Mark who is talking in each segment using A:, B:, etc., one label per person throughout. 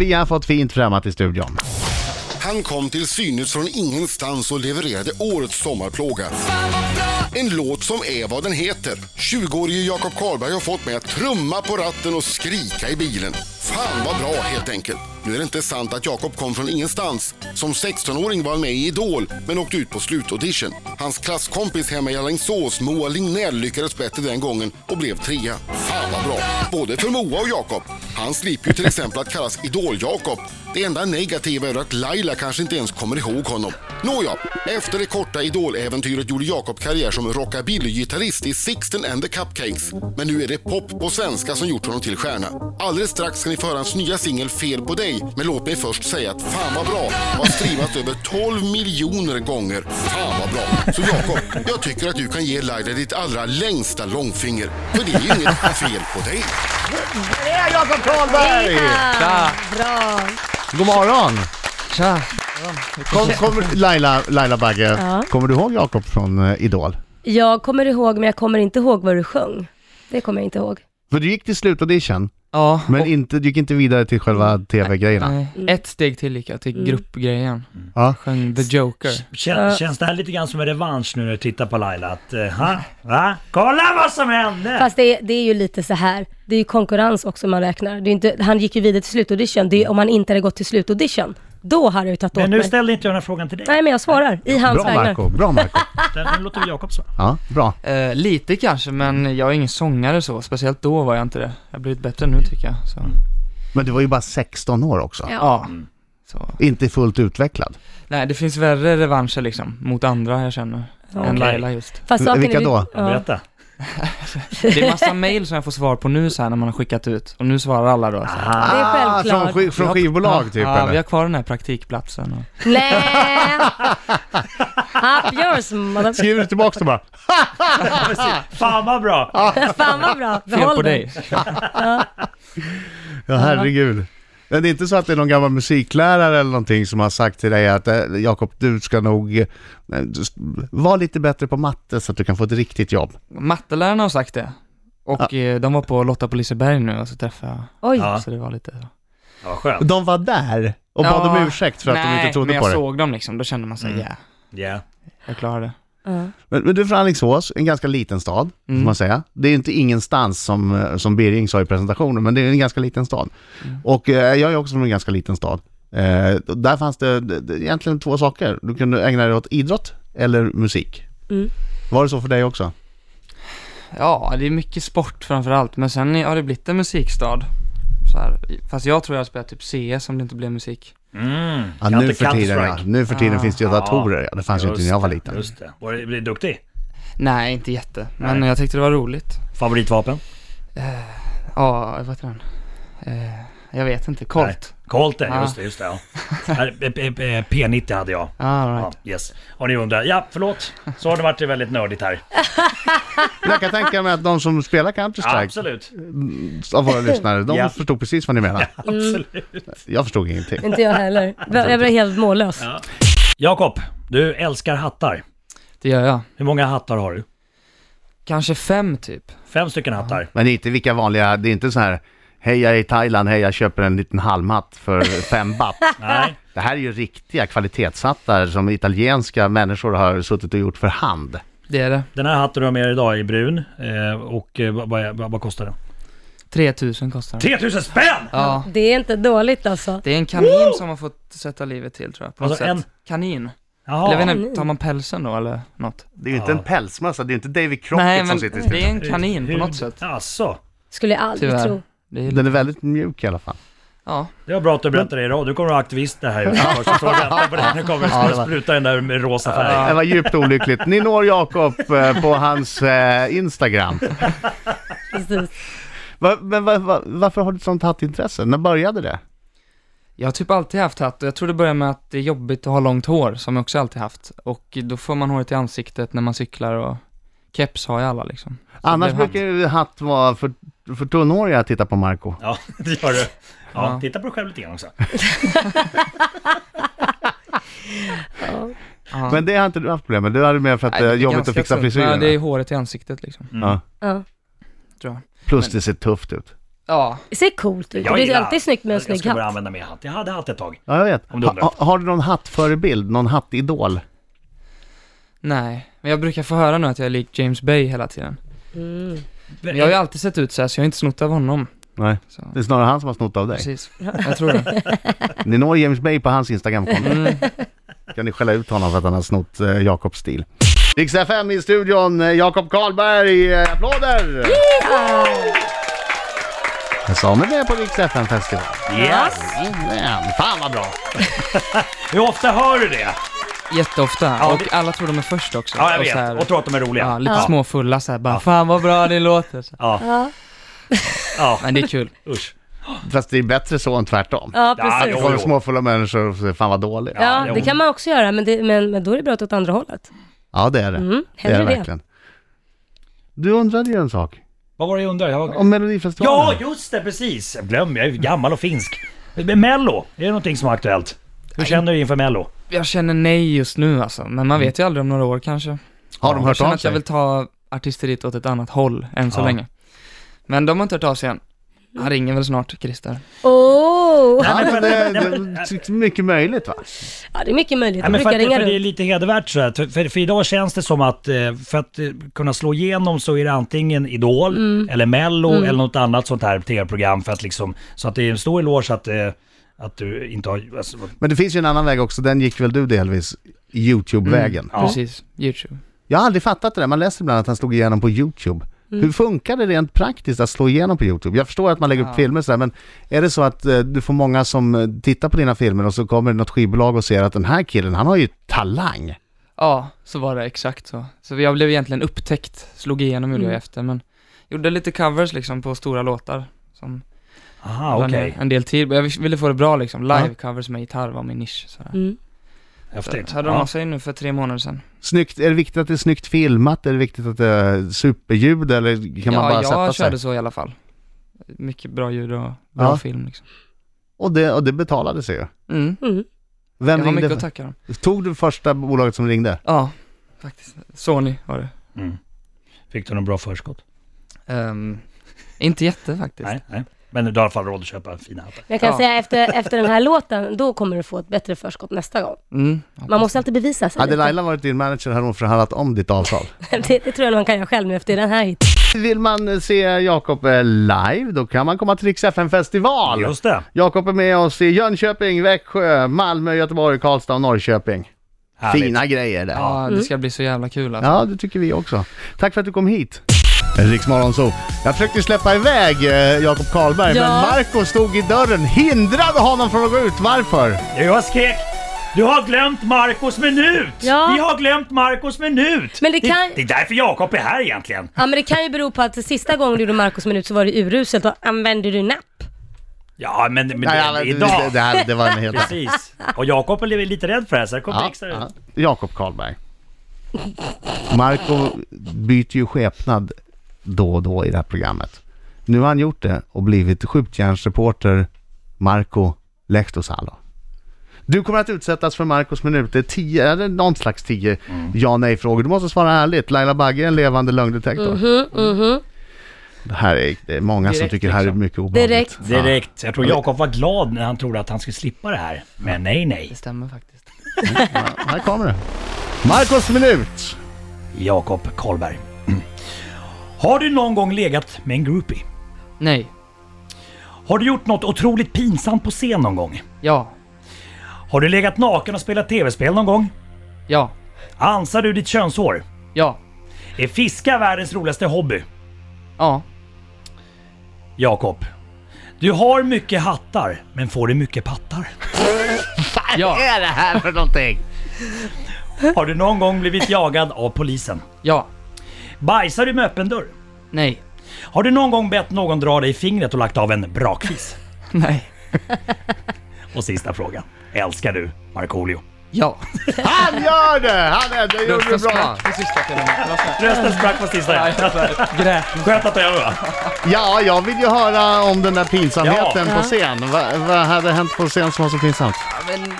A: Vi har fått fint främmat i studion.
B: Han kom till synes från ingenstans och levererade årets sommarplåga. En låt som är vad den heter. 20-årige Jakob Karlberg har fått mig att trumma på ratten och skrika i bilen. Fan vad bra helt enkelt. Nu är det inte sant att Jakob kom från ingenstans. Som 16-åring var han med i Idol, men åkte ut på slutaudition. Hans klasskompis hemma i Alingsås, Moa Lignell, lyckades bättre den gången och blev trea. Fan vad bra! Både för Moa och Jakob. Han slipper ju till exempel att kallas Idol-Jakob. Det enda negativa är att Laila kanske inte ens kommer ihåg honom. Nåja, efter det korta Idol-äventyret gjorde Jakob karriär som rockabilly-gitarrist i Sixten and the Cupcakes. Men nu är det pop på svenska som gjort honom till stjärna. Alldeles strax ska ni få höra hans nya singel Fel på dig, men låt mig först säga att fan vad bra har streamat över 12 miljoner gånger. Fan vad bra! Så Jakob, jag tycker att du kan ge Laila ditt allra längsta långfinger. För det är ju inget fel på dig.
A: Det är Jakob Karlberg!
C: Tja!
D: Bra!
A: God morgon!
C: Tja!
A: Kom, kommer- Laila, Laila Bagge,
D: Ja.
A: kommer du ihåg Jakob från eh, Idol?
D: Jag kommer ihåg, men jag kommer inte ihåg vad du sjöng. Det kommer jag inte ihåg.
A: För du gick till slutaudition,
C: Ja,
A: men
C: och-
A: inte, du gick inte vidare till själva tv-grejerna.
C: nej, ett steg till gick jag, till gruppgrejen.
A: Ja.
C: Sjöng The Joker.
E: Kän,
D: Eh.
E: Känns det här lite grann som en revansch nu när du tittar på Laila? Att, eh, ha, va? Kolla vad som hände!
D: Fast det, är- det är ju lite så här. det är ju konkurrens också man räknar. Det är ju inte, han gick ju vidare till slutaudition. Det är ju om han inte hade gått till slutaudition. Då hade jag ju tagit åt
E: Men nu
D: mig.
E: ställde inte jag den här frågan till dig.
D: Nej, men jag svarar. I hans
A: Bra
D: vägnar.
A: Marco, bra Marco.
E: Den, den låter vi Jakob svara.
A: Ja, bra.
C: Eh, lite kanske, men jag är ingen sångare så, speciellt då var jag inte det. Jag har blivit bättre nu tycker jag. Så.
A: Men du var ju bara 16 år också.
D: Ja.
C: Ja. Så.
A: Inte fullt utvecklad.
C: Nej, det finns värre revanscher liksom, mot andra jag känner. Än
E: Okej.
C: Laila just.
D: Fast saken är-
A: Vilka då?
D: Ja.
E: Berätta.
C: Det är massa mail som jag får svar på nu så här när man har skickat ut. Och nu svarar alla då. Så.
E: Aha.
D: Det är
A: Ah, från,
D: självklart.
A: sk- från skivbolag typ
C: Ja, vi har
A: eller?
C: kvar den här praktikplatsen. Och...
D: Nej! Up yours, mother...
A: Skriver du tillbaka och bara
E: Fan vad bra!
A: Ah.
D: Fan vad bra.
C: Fel
D: Behåll
C: på
D: den.
C: dig.
A: Ja, herregud. Men det är inte så att det är någon gammal musiklärare eller någonting som har sagt till dig att eh, Jakob, du ska nog eh, du s- vara lite bättre på matte så att du kan få ett riktigt jobb.
C: Mattelärarna har sagt det. Och eh, de var på Lotta på Liseberg nu och så träffade jag.
D: Oj.
E: Ja.
C: Så det var lite...
E: Ja, vad skönt.
A: De var där och bad
C: Ja,
A: om ursäkt för att de inte trodde
C: men
A: på Mm.
C: jag
A: det.
C: såg dem liksom, då kände man så ja, yeah,
E: Ja.
C: jag klarar det.
D: Ja.
A: Men, men du är från Alingsås, en ganska liten stad, får
C: Mm.
A: man säga. Det är ju inte ingenstans som, eh, som Birging sa i presentationen, men det är en ganska liten stad.
C: Mm.
A: Och eh, jag är också från en ganska liten stad. Eh, och där fanns det, det, det egentligen två saker. Du kunde ägna dig åt idrott eller musik.
D: Mm.
A: Var det så för dig också?
C: Ja, det är mycket sport framförallt, men sen har det blivit en musikstad. Så här. Fast jag tror jag spelar typ CS om det inte blev musik.
E: Mm.
A: Ja,
E: Counter-
A: nu för tiden, ja.
E: Counter-Strike.
A: nu för tiden
C: Ah.
A: finns det ju datorer. Ja, det fanns ju inte när jag var
E: det,
A: liten.
E: Just det. Var du, blev du duktig?
C: Nej, inte jätte, men
E: Nej.
C: jag tyckte det var roligt.
E: Favoritvapen?
C: Ja, vad heter den? Eh, jag vet inte, Colt.
E: Colt,
A: Ah.
C: Ja.
E: just det. Just det ja. Här, eh, eh, eh, P90 hade jag.
C: Ah,
E: Ja,
C: right.
E: yes. Om ni undrar. Ja, förlåt. Så har det varit väldigt nördigt här.
A: Men Jag kan tänka mig att de som spelar
E: Ja,
A: Counter-Strike
E: absolut.
A: av våra lyssnare, de
E: Ja.
A: förstod precis vad ni menade.
E: absolut.
A: Jag förstod ingenting.
D: Inte jag heller. Jag blev helt mållös.
E: Jakob, du älskar hattar.
C: Det gör jag.
E: Hur många hattar har du?
C: Kanske fem typ.
E: Fem stycken hattar.
A: Men det är inte vilka vanliga, det är inte så här Hej jag är i Thailand, hej jag köper en liten halmhatt för fem baht.
E: Nej.
A: Det här är ju riktiga kvalitetshattar som italienska människor har suttit och gjort för hand.
C: Det är det.
E: Den här hatten du har med er idag är brun eh, och eh, vad, vad, vad, vad kostar den?
C: 3000 kostar den.
E: 3000 spänn!
C: Ja.
D: Det är inte dåligt alltså.
C: Det är en kanin som har fått sätta livet till tror jag, på något
E: Alltså,
C: sätt.
E: en-
C: Kanin.
E: Jaha.
C: Eller jag vet inte, tar man pälsen då eller något?
A: Det är ju inte
E: Ja.
A: en pälsmössa, det är ju inte David Crockett
C: Nej men
A: som sitter i studion.
C: det är en kanin på
E: Hud.
C: något sätt.
E: Alltså,
D: Skulle jag aldrig
C: Tyvärr.
D: tro.
C: Det är,
A: Den är väldigt mjuk i alla fall.
C: ja.
E: det var bra att du berättade det idag. Du kommer att vara aktivist det här i första frågan. Nu kommer
A: Ja, det
E: det
A: var-
E: spruta den där med rosa färgen.
A: Det var djupt olyckligt. Ni når Jakob eh, på hans eh, Instagram.
D: Precis.
A: Va, men va, va, varför har du ett sånt hattintresse? När började det?
C: Jag har typ alltid haft hatt och jag tror det börjar med att det är jobbigt att ha långt hår, som jag också alltid haft. Och då får man håret i ansiktet när man cyklar och keps har ju alla liksom. Så
A: Annars
C: det blev
A: brukar ju hatt vara för, för tunnhåriga att titta på Marco.
E: Ja, det gör du. Ja,
C: Ja.
E: titta på dig själv lite grann också.
C: hatt.
A: Men det har inte du haft problem med? Du hade mer för att
C: Nej,
A: det är
C: ganska
A: jobbigt att fixa
C: sunt. Nej,
A: frisyrerna?
C: det är håret i ansiktet liksom,
A: Ja.
D: Ja.
C: tror jag.
A: Plus det ser tufft ut.
C: Ja,
D: Det ser coolt ut.
E: Jag
D: det är
E: gillar
D: alltid
E: hatt.
D: snyggt med en
E: Jag
D: snygg
E: ska börja
D: hatt.
E: använda mer hatt. Jag hade hatt ett tag.
A: Ja, jag vet.
E: Om du undrar.
A: Ha, har du någon hattförebild? Någon hattidol?
C: nej. Men jag brukar få höra nu att jag är lik James Bay hela tiden.
D: Mm.
C: Men jag har ju alltid sett ut så här, så jag har inte snott av honom.
A: Nej.
C: Så,
A: Det är snarare han som har snott av dig.
C: precis. Jag tror det.
A: Ni når James Bay på hans Instagramkonto.
C: Mm.
A: Kan ni skälla ut honom för att han har snott eh, Jakobs stil. Rix FM i studion, eh, Jakob Karlberg. eh, Applåder! Samuel är på Rix FM festival.
E: Yes!
A: Jajamän, Mm, fan vad bra!
E: Hur ofta hör du det?
C: Jätteofta.
E: Ja,
C: och
E: det-
C: alla tror de är först också.
E: Ja, jag
C: och så här,
E: vet. Och tror att de är
C: ja,
E: roliga.
C: lite småfulla så här, bara Fan vad bra det låter. Så.
E: Ja,
D: Ja.
E: ja.
C: Men det är kul.
E: Usch.
A: Fast det är bättre så än tvärtom.
D: ja,
E: Ja,
D: precis.
E: jo.
D: Ja,
A: Kommer småfulla människor och säger fan vad dålig. Ja,
E: jo.
D: det kan man också göra, men, det, men, men då är det bra att åt andra hållet.
A: det är det.
D: Mm,
A: det är det
D: hellre det.
A: verkligen. Du undrade ju en sak.
E: Vad var det jag undrade? Jag var...
A: Om
E: Ja,
A: Melodifestivalen.
E: just det, precis! Jag glömmer, jag är ju gammal och finsk. Men Mello, är det någonting som är aktuellt? Hur känner du inför Mello?
C: Jag känner nej just nu alltså, men man vet ju aldrig om några år kanske.
A: Mm. Har de
C: Jag
A: hört
C: känner
A: av
C: att
A: sig?
C: jag vill ta artisteriet åt ett annat håll än så
E: Ja.
C: länge. Men de har inte hört av sig än. Han ringer väl snart, Christer.
D: Oh.
A: Ja,
E: Nej,
A: men
E: men-
A: det,
E: nej,
A: det,
E: men-
A: det, mycket möjligt va?
D: Ja, det är mycket möjligt.
E: Ja,
D: De
E: men för,
D: brukar
E: att,
D: ringa
E: för det är
D: runt.
E: lite hedervärt så här. För, för, för idag känns det som att eh, för att eh, kunna slå igenom så är det antingen Idol eller Mello eller något annat sånt här tv-program för att liksom, så att det är en stor eloge att, eh, att du inte har... Alltså,
A: Men det finns ju en annan väg också, den gick väl du delvis? Youtube-vägen.
C: Mm, Precis, YouTube.
A: Jag har aldrig fattat det där, man läser ibland att han slog igenom på Youtube.
C: Mm.
A: Hur funkar det rent praktiskt att slå igenom på Youtube? Jag förstår att man lägger upp
C: Ja.
A: filmer sådär, men är det så att eh, du får många som eh, tittar på dina filmer och så kommer det något skivbolag och ser att den här killen, han har ju talang.
C: Ja, så var det exakt så. Så jag blev egentligen upptäckt, slog igenom gjorde jag efter, men gjorde lite covers liksom på stora låtar. Som
E: aha,
C: la
E: Ah, okej.
C: ner en del tid, men jag ville få det bra liksom. Live-covers med gitarr var min nisch. Sådär.
D: Mm.
E: Häftigt.
C: Hörde de av
E: Ja.
C: sig nu för tre månader sedan.
A: Snyggt, är det viktigt att det är snyggt filmat? Är det viktigt att det är superljud eller kan man
C: ja,
A: bara
C: jag
A: sätta sig?
C: körde så i alla fall. Mycket bra ljud och bra
A: Ja.
C: film liksom.
A: Och det, och det betalade sig ju.
C: Mm.
D: Mm.
A: Vem
C: Jag har mycket
A: ringde?
C: att tacka dem.
A: Tog du första bolaget som ringde?
C: Ja, faktiskt. Sony var det.
E: Mm. Fick du någon bra förskott?
C: Ehm, inte jätte faktiskt.
E: Nej, nej. Men du har i alla fall råd att köpa fina hattar.
D: Men jag kan
C: Ja.
D: säga efter, efter den här låten, då kommer du få ett bättre förskott nästa gång.
C: Mm,
D: Man måste alltid bevisa sig.
A: Hade
D: lite.
A: Laila varit din manager hade hon förhandlat om ditt avtal.
D: Det, det tror jag man kan göra själv nu efter den här hiten.
A: Vill man se Jakob eh, live, då kan man komma till Rix FN-festival.
E: Just det.
A: Jakob är med oss i Jönköping, Växjö, Malmö, Göteborg, Karlstad och Norrköping.
E: Härligt.
A: Fina grejer där. Ja.
C: Ja, det ska bli så jävla kul alltså.
A: ja, det tycker vi också. Tack för att du kom hit. Rix Morgonzoo. Jag försökte släppa iväg eh, Jakob Karlberg,
D: Ja.
A: men Marco stod i dörren, hindrade honom från att gå ut. Varför?
E: Jag skrek du har glömt Marcos minut!
D: Ja.
E: Vi har glömt Marcos minut!
D: Men det kan-
E: det är därför Jakob är här egentligen.
D: Ja men det kan ju bero på att sista gången du gjorde Marcos minut så var det uruselt. Vad Använde du napp?
E: Ja, men, men
A: Nej, men
E: det,
A: det,
E: idag...
A: det, det, här, det var en helt...
E: Precis. Och Jakob är lite rädd för det här, så här kommer
A: Ja,
E: extra
A: ja.
E: ut.
A: Jakob Karlberg. Marco byter ju skepnad då och då i det här programmet. Nu har han gjort det och blivit skjutjärnsreporter Marco Lehtosalo. Du kommer att utsättas för Marcos minuter 10, eller någon slags 10 ja nej frågor. Du måste svara ärligt. Laila Bagge är en levande lögndetektor. Mhm, Det här är, det är många som
C: Direkt,
A: tycker det här är
C: liksom.
A: mycket obehagligt.
D: Direkt.
A: Ja.
E: Direkt. Jag tror Jakob var glad när han trodde att han skulle slippa det här. Men nej, nej.
C: Det stämmer faktiskt.
A: Ja, här kommer det. Marcos minut!
E: Jakob Karlberg. Mm. Har du någon gång legat med en groupie?
C: Nej,
E: Har du gjort något otroligt pinsamt på scen någon gång?
C: ja,
E: Har du legat naken och spelat tv-spel någon gång?
C: ja,
E: Ansar du ditt könshår?
C: ja,
E: Är fiska världens roligaste hobby?
C: ja,
E: Jakob. Du har mycket hattar, men får du mycket pattar?
A: Vad
C: ja,
A: är det här för någonting?
E: Har du någon gång blivit jagad av polisen?
C: ja,
E: Bajsar du med öppen dörr?
C: nej,
E: Har du någon gång bett någon dra dig i fingret och lagt av en brakfis?
C: nej,
E: Och sista frågan. Älskar du Markoolio?
C: ja.
A: Han gör det! Han är, det gjorde du bra!
C: på sista till och med. Vad sa jag?
E: Rösten sprack på sista.
C: Grät.
E: Skönt att jag va?
A: Ja, jag vill ju höra om den där pinsamheten
D: Ja.
A: på scen. Va- Vad hade hänt på scen som var så pinsamt?
C: Ja, men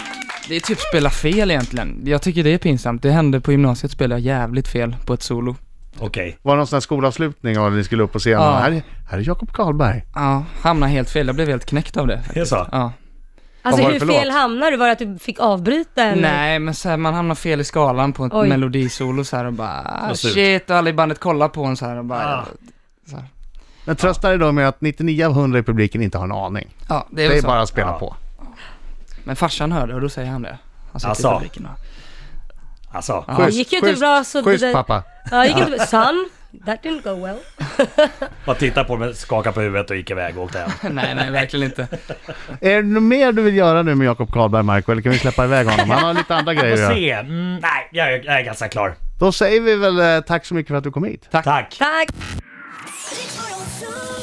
C: det är typ spela fel egentligen. Jag tycker det är pinsamt. Det hände på gymnasiet spelade jag jävligt fel på ett solo.
E: Okej.
A: Var det någon sån här skolavslutning och ni skulle upp på scenen?
C: Ja.
A: Här, är- här är Jakob Karlberg.
C: Ja, hamnade helt fel. Jag blev helt knäckt av det.
E: Det är så?
C: Ja.
A: Vad
D: Alltså
A: var
D: hur
A: det för
D: fel
A: låt?
D: hamnade du? Var det att du fick avbryta eller?
C: Nej, men så här, man hamnar fel i skalan på ett
D: Oj.
C: melodisolo så här och bara ah,
E: Slås ut.
C: shit och alla i bandet kollar på en så här och bara
E: Ah.
C: så här.
A: Men trösta dig då med att 99 av 100 i publiken inte har en aning.
C: Ja, det
A: Det
C: är,
A: är,
C: väl så.
A: bara att spela
E: Ja.
A: på.
C: Men farsan hörde och då säger han det. Han sitter
E: Alltså.
C: i publiken och...
E: Alltså,
C: Ja.
D: Det gick ju inte bra så det
A: schysst,
D: där-
A: pappa.
D: Ja, gick inte... Son, that didn't go well.
E: bara titta på mig, skaka på huvudet och gick iväg och åkte hem.
C: nej, nej, verkligen inte.
A: Är det något mer du vill göra nu med Jakob Karlberg, Marco? Eller kan vi släppa iväg honom? Han har lite andra grejer
E: Får
A: att göra.
E: se. Mm, nej, jag är, jag är ganska klar.
A: Då säger vi väl eh, tack så mycket för att du kom hit.
E: Tack.
D: Tack!
F: Rick Morgonzoo.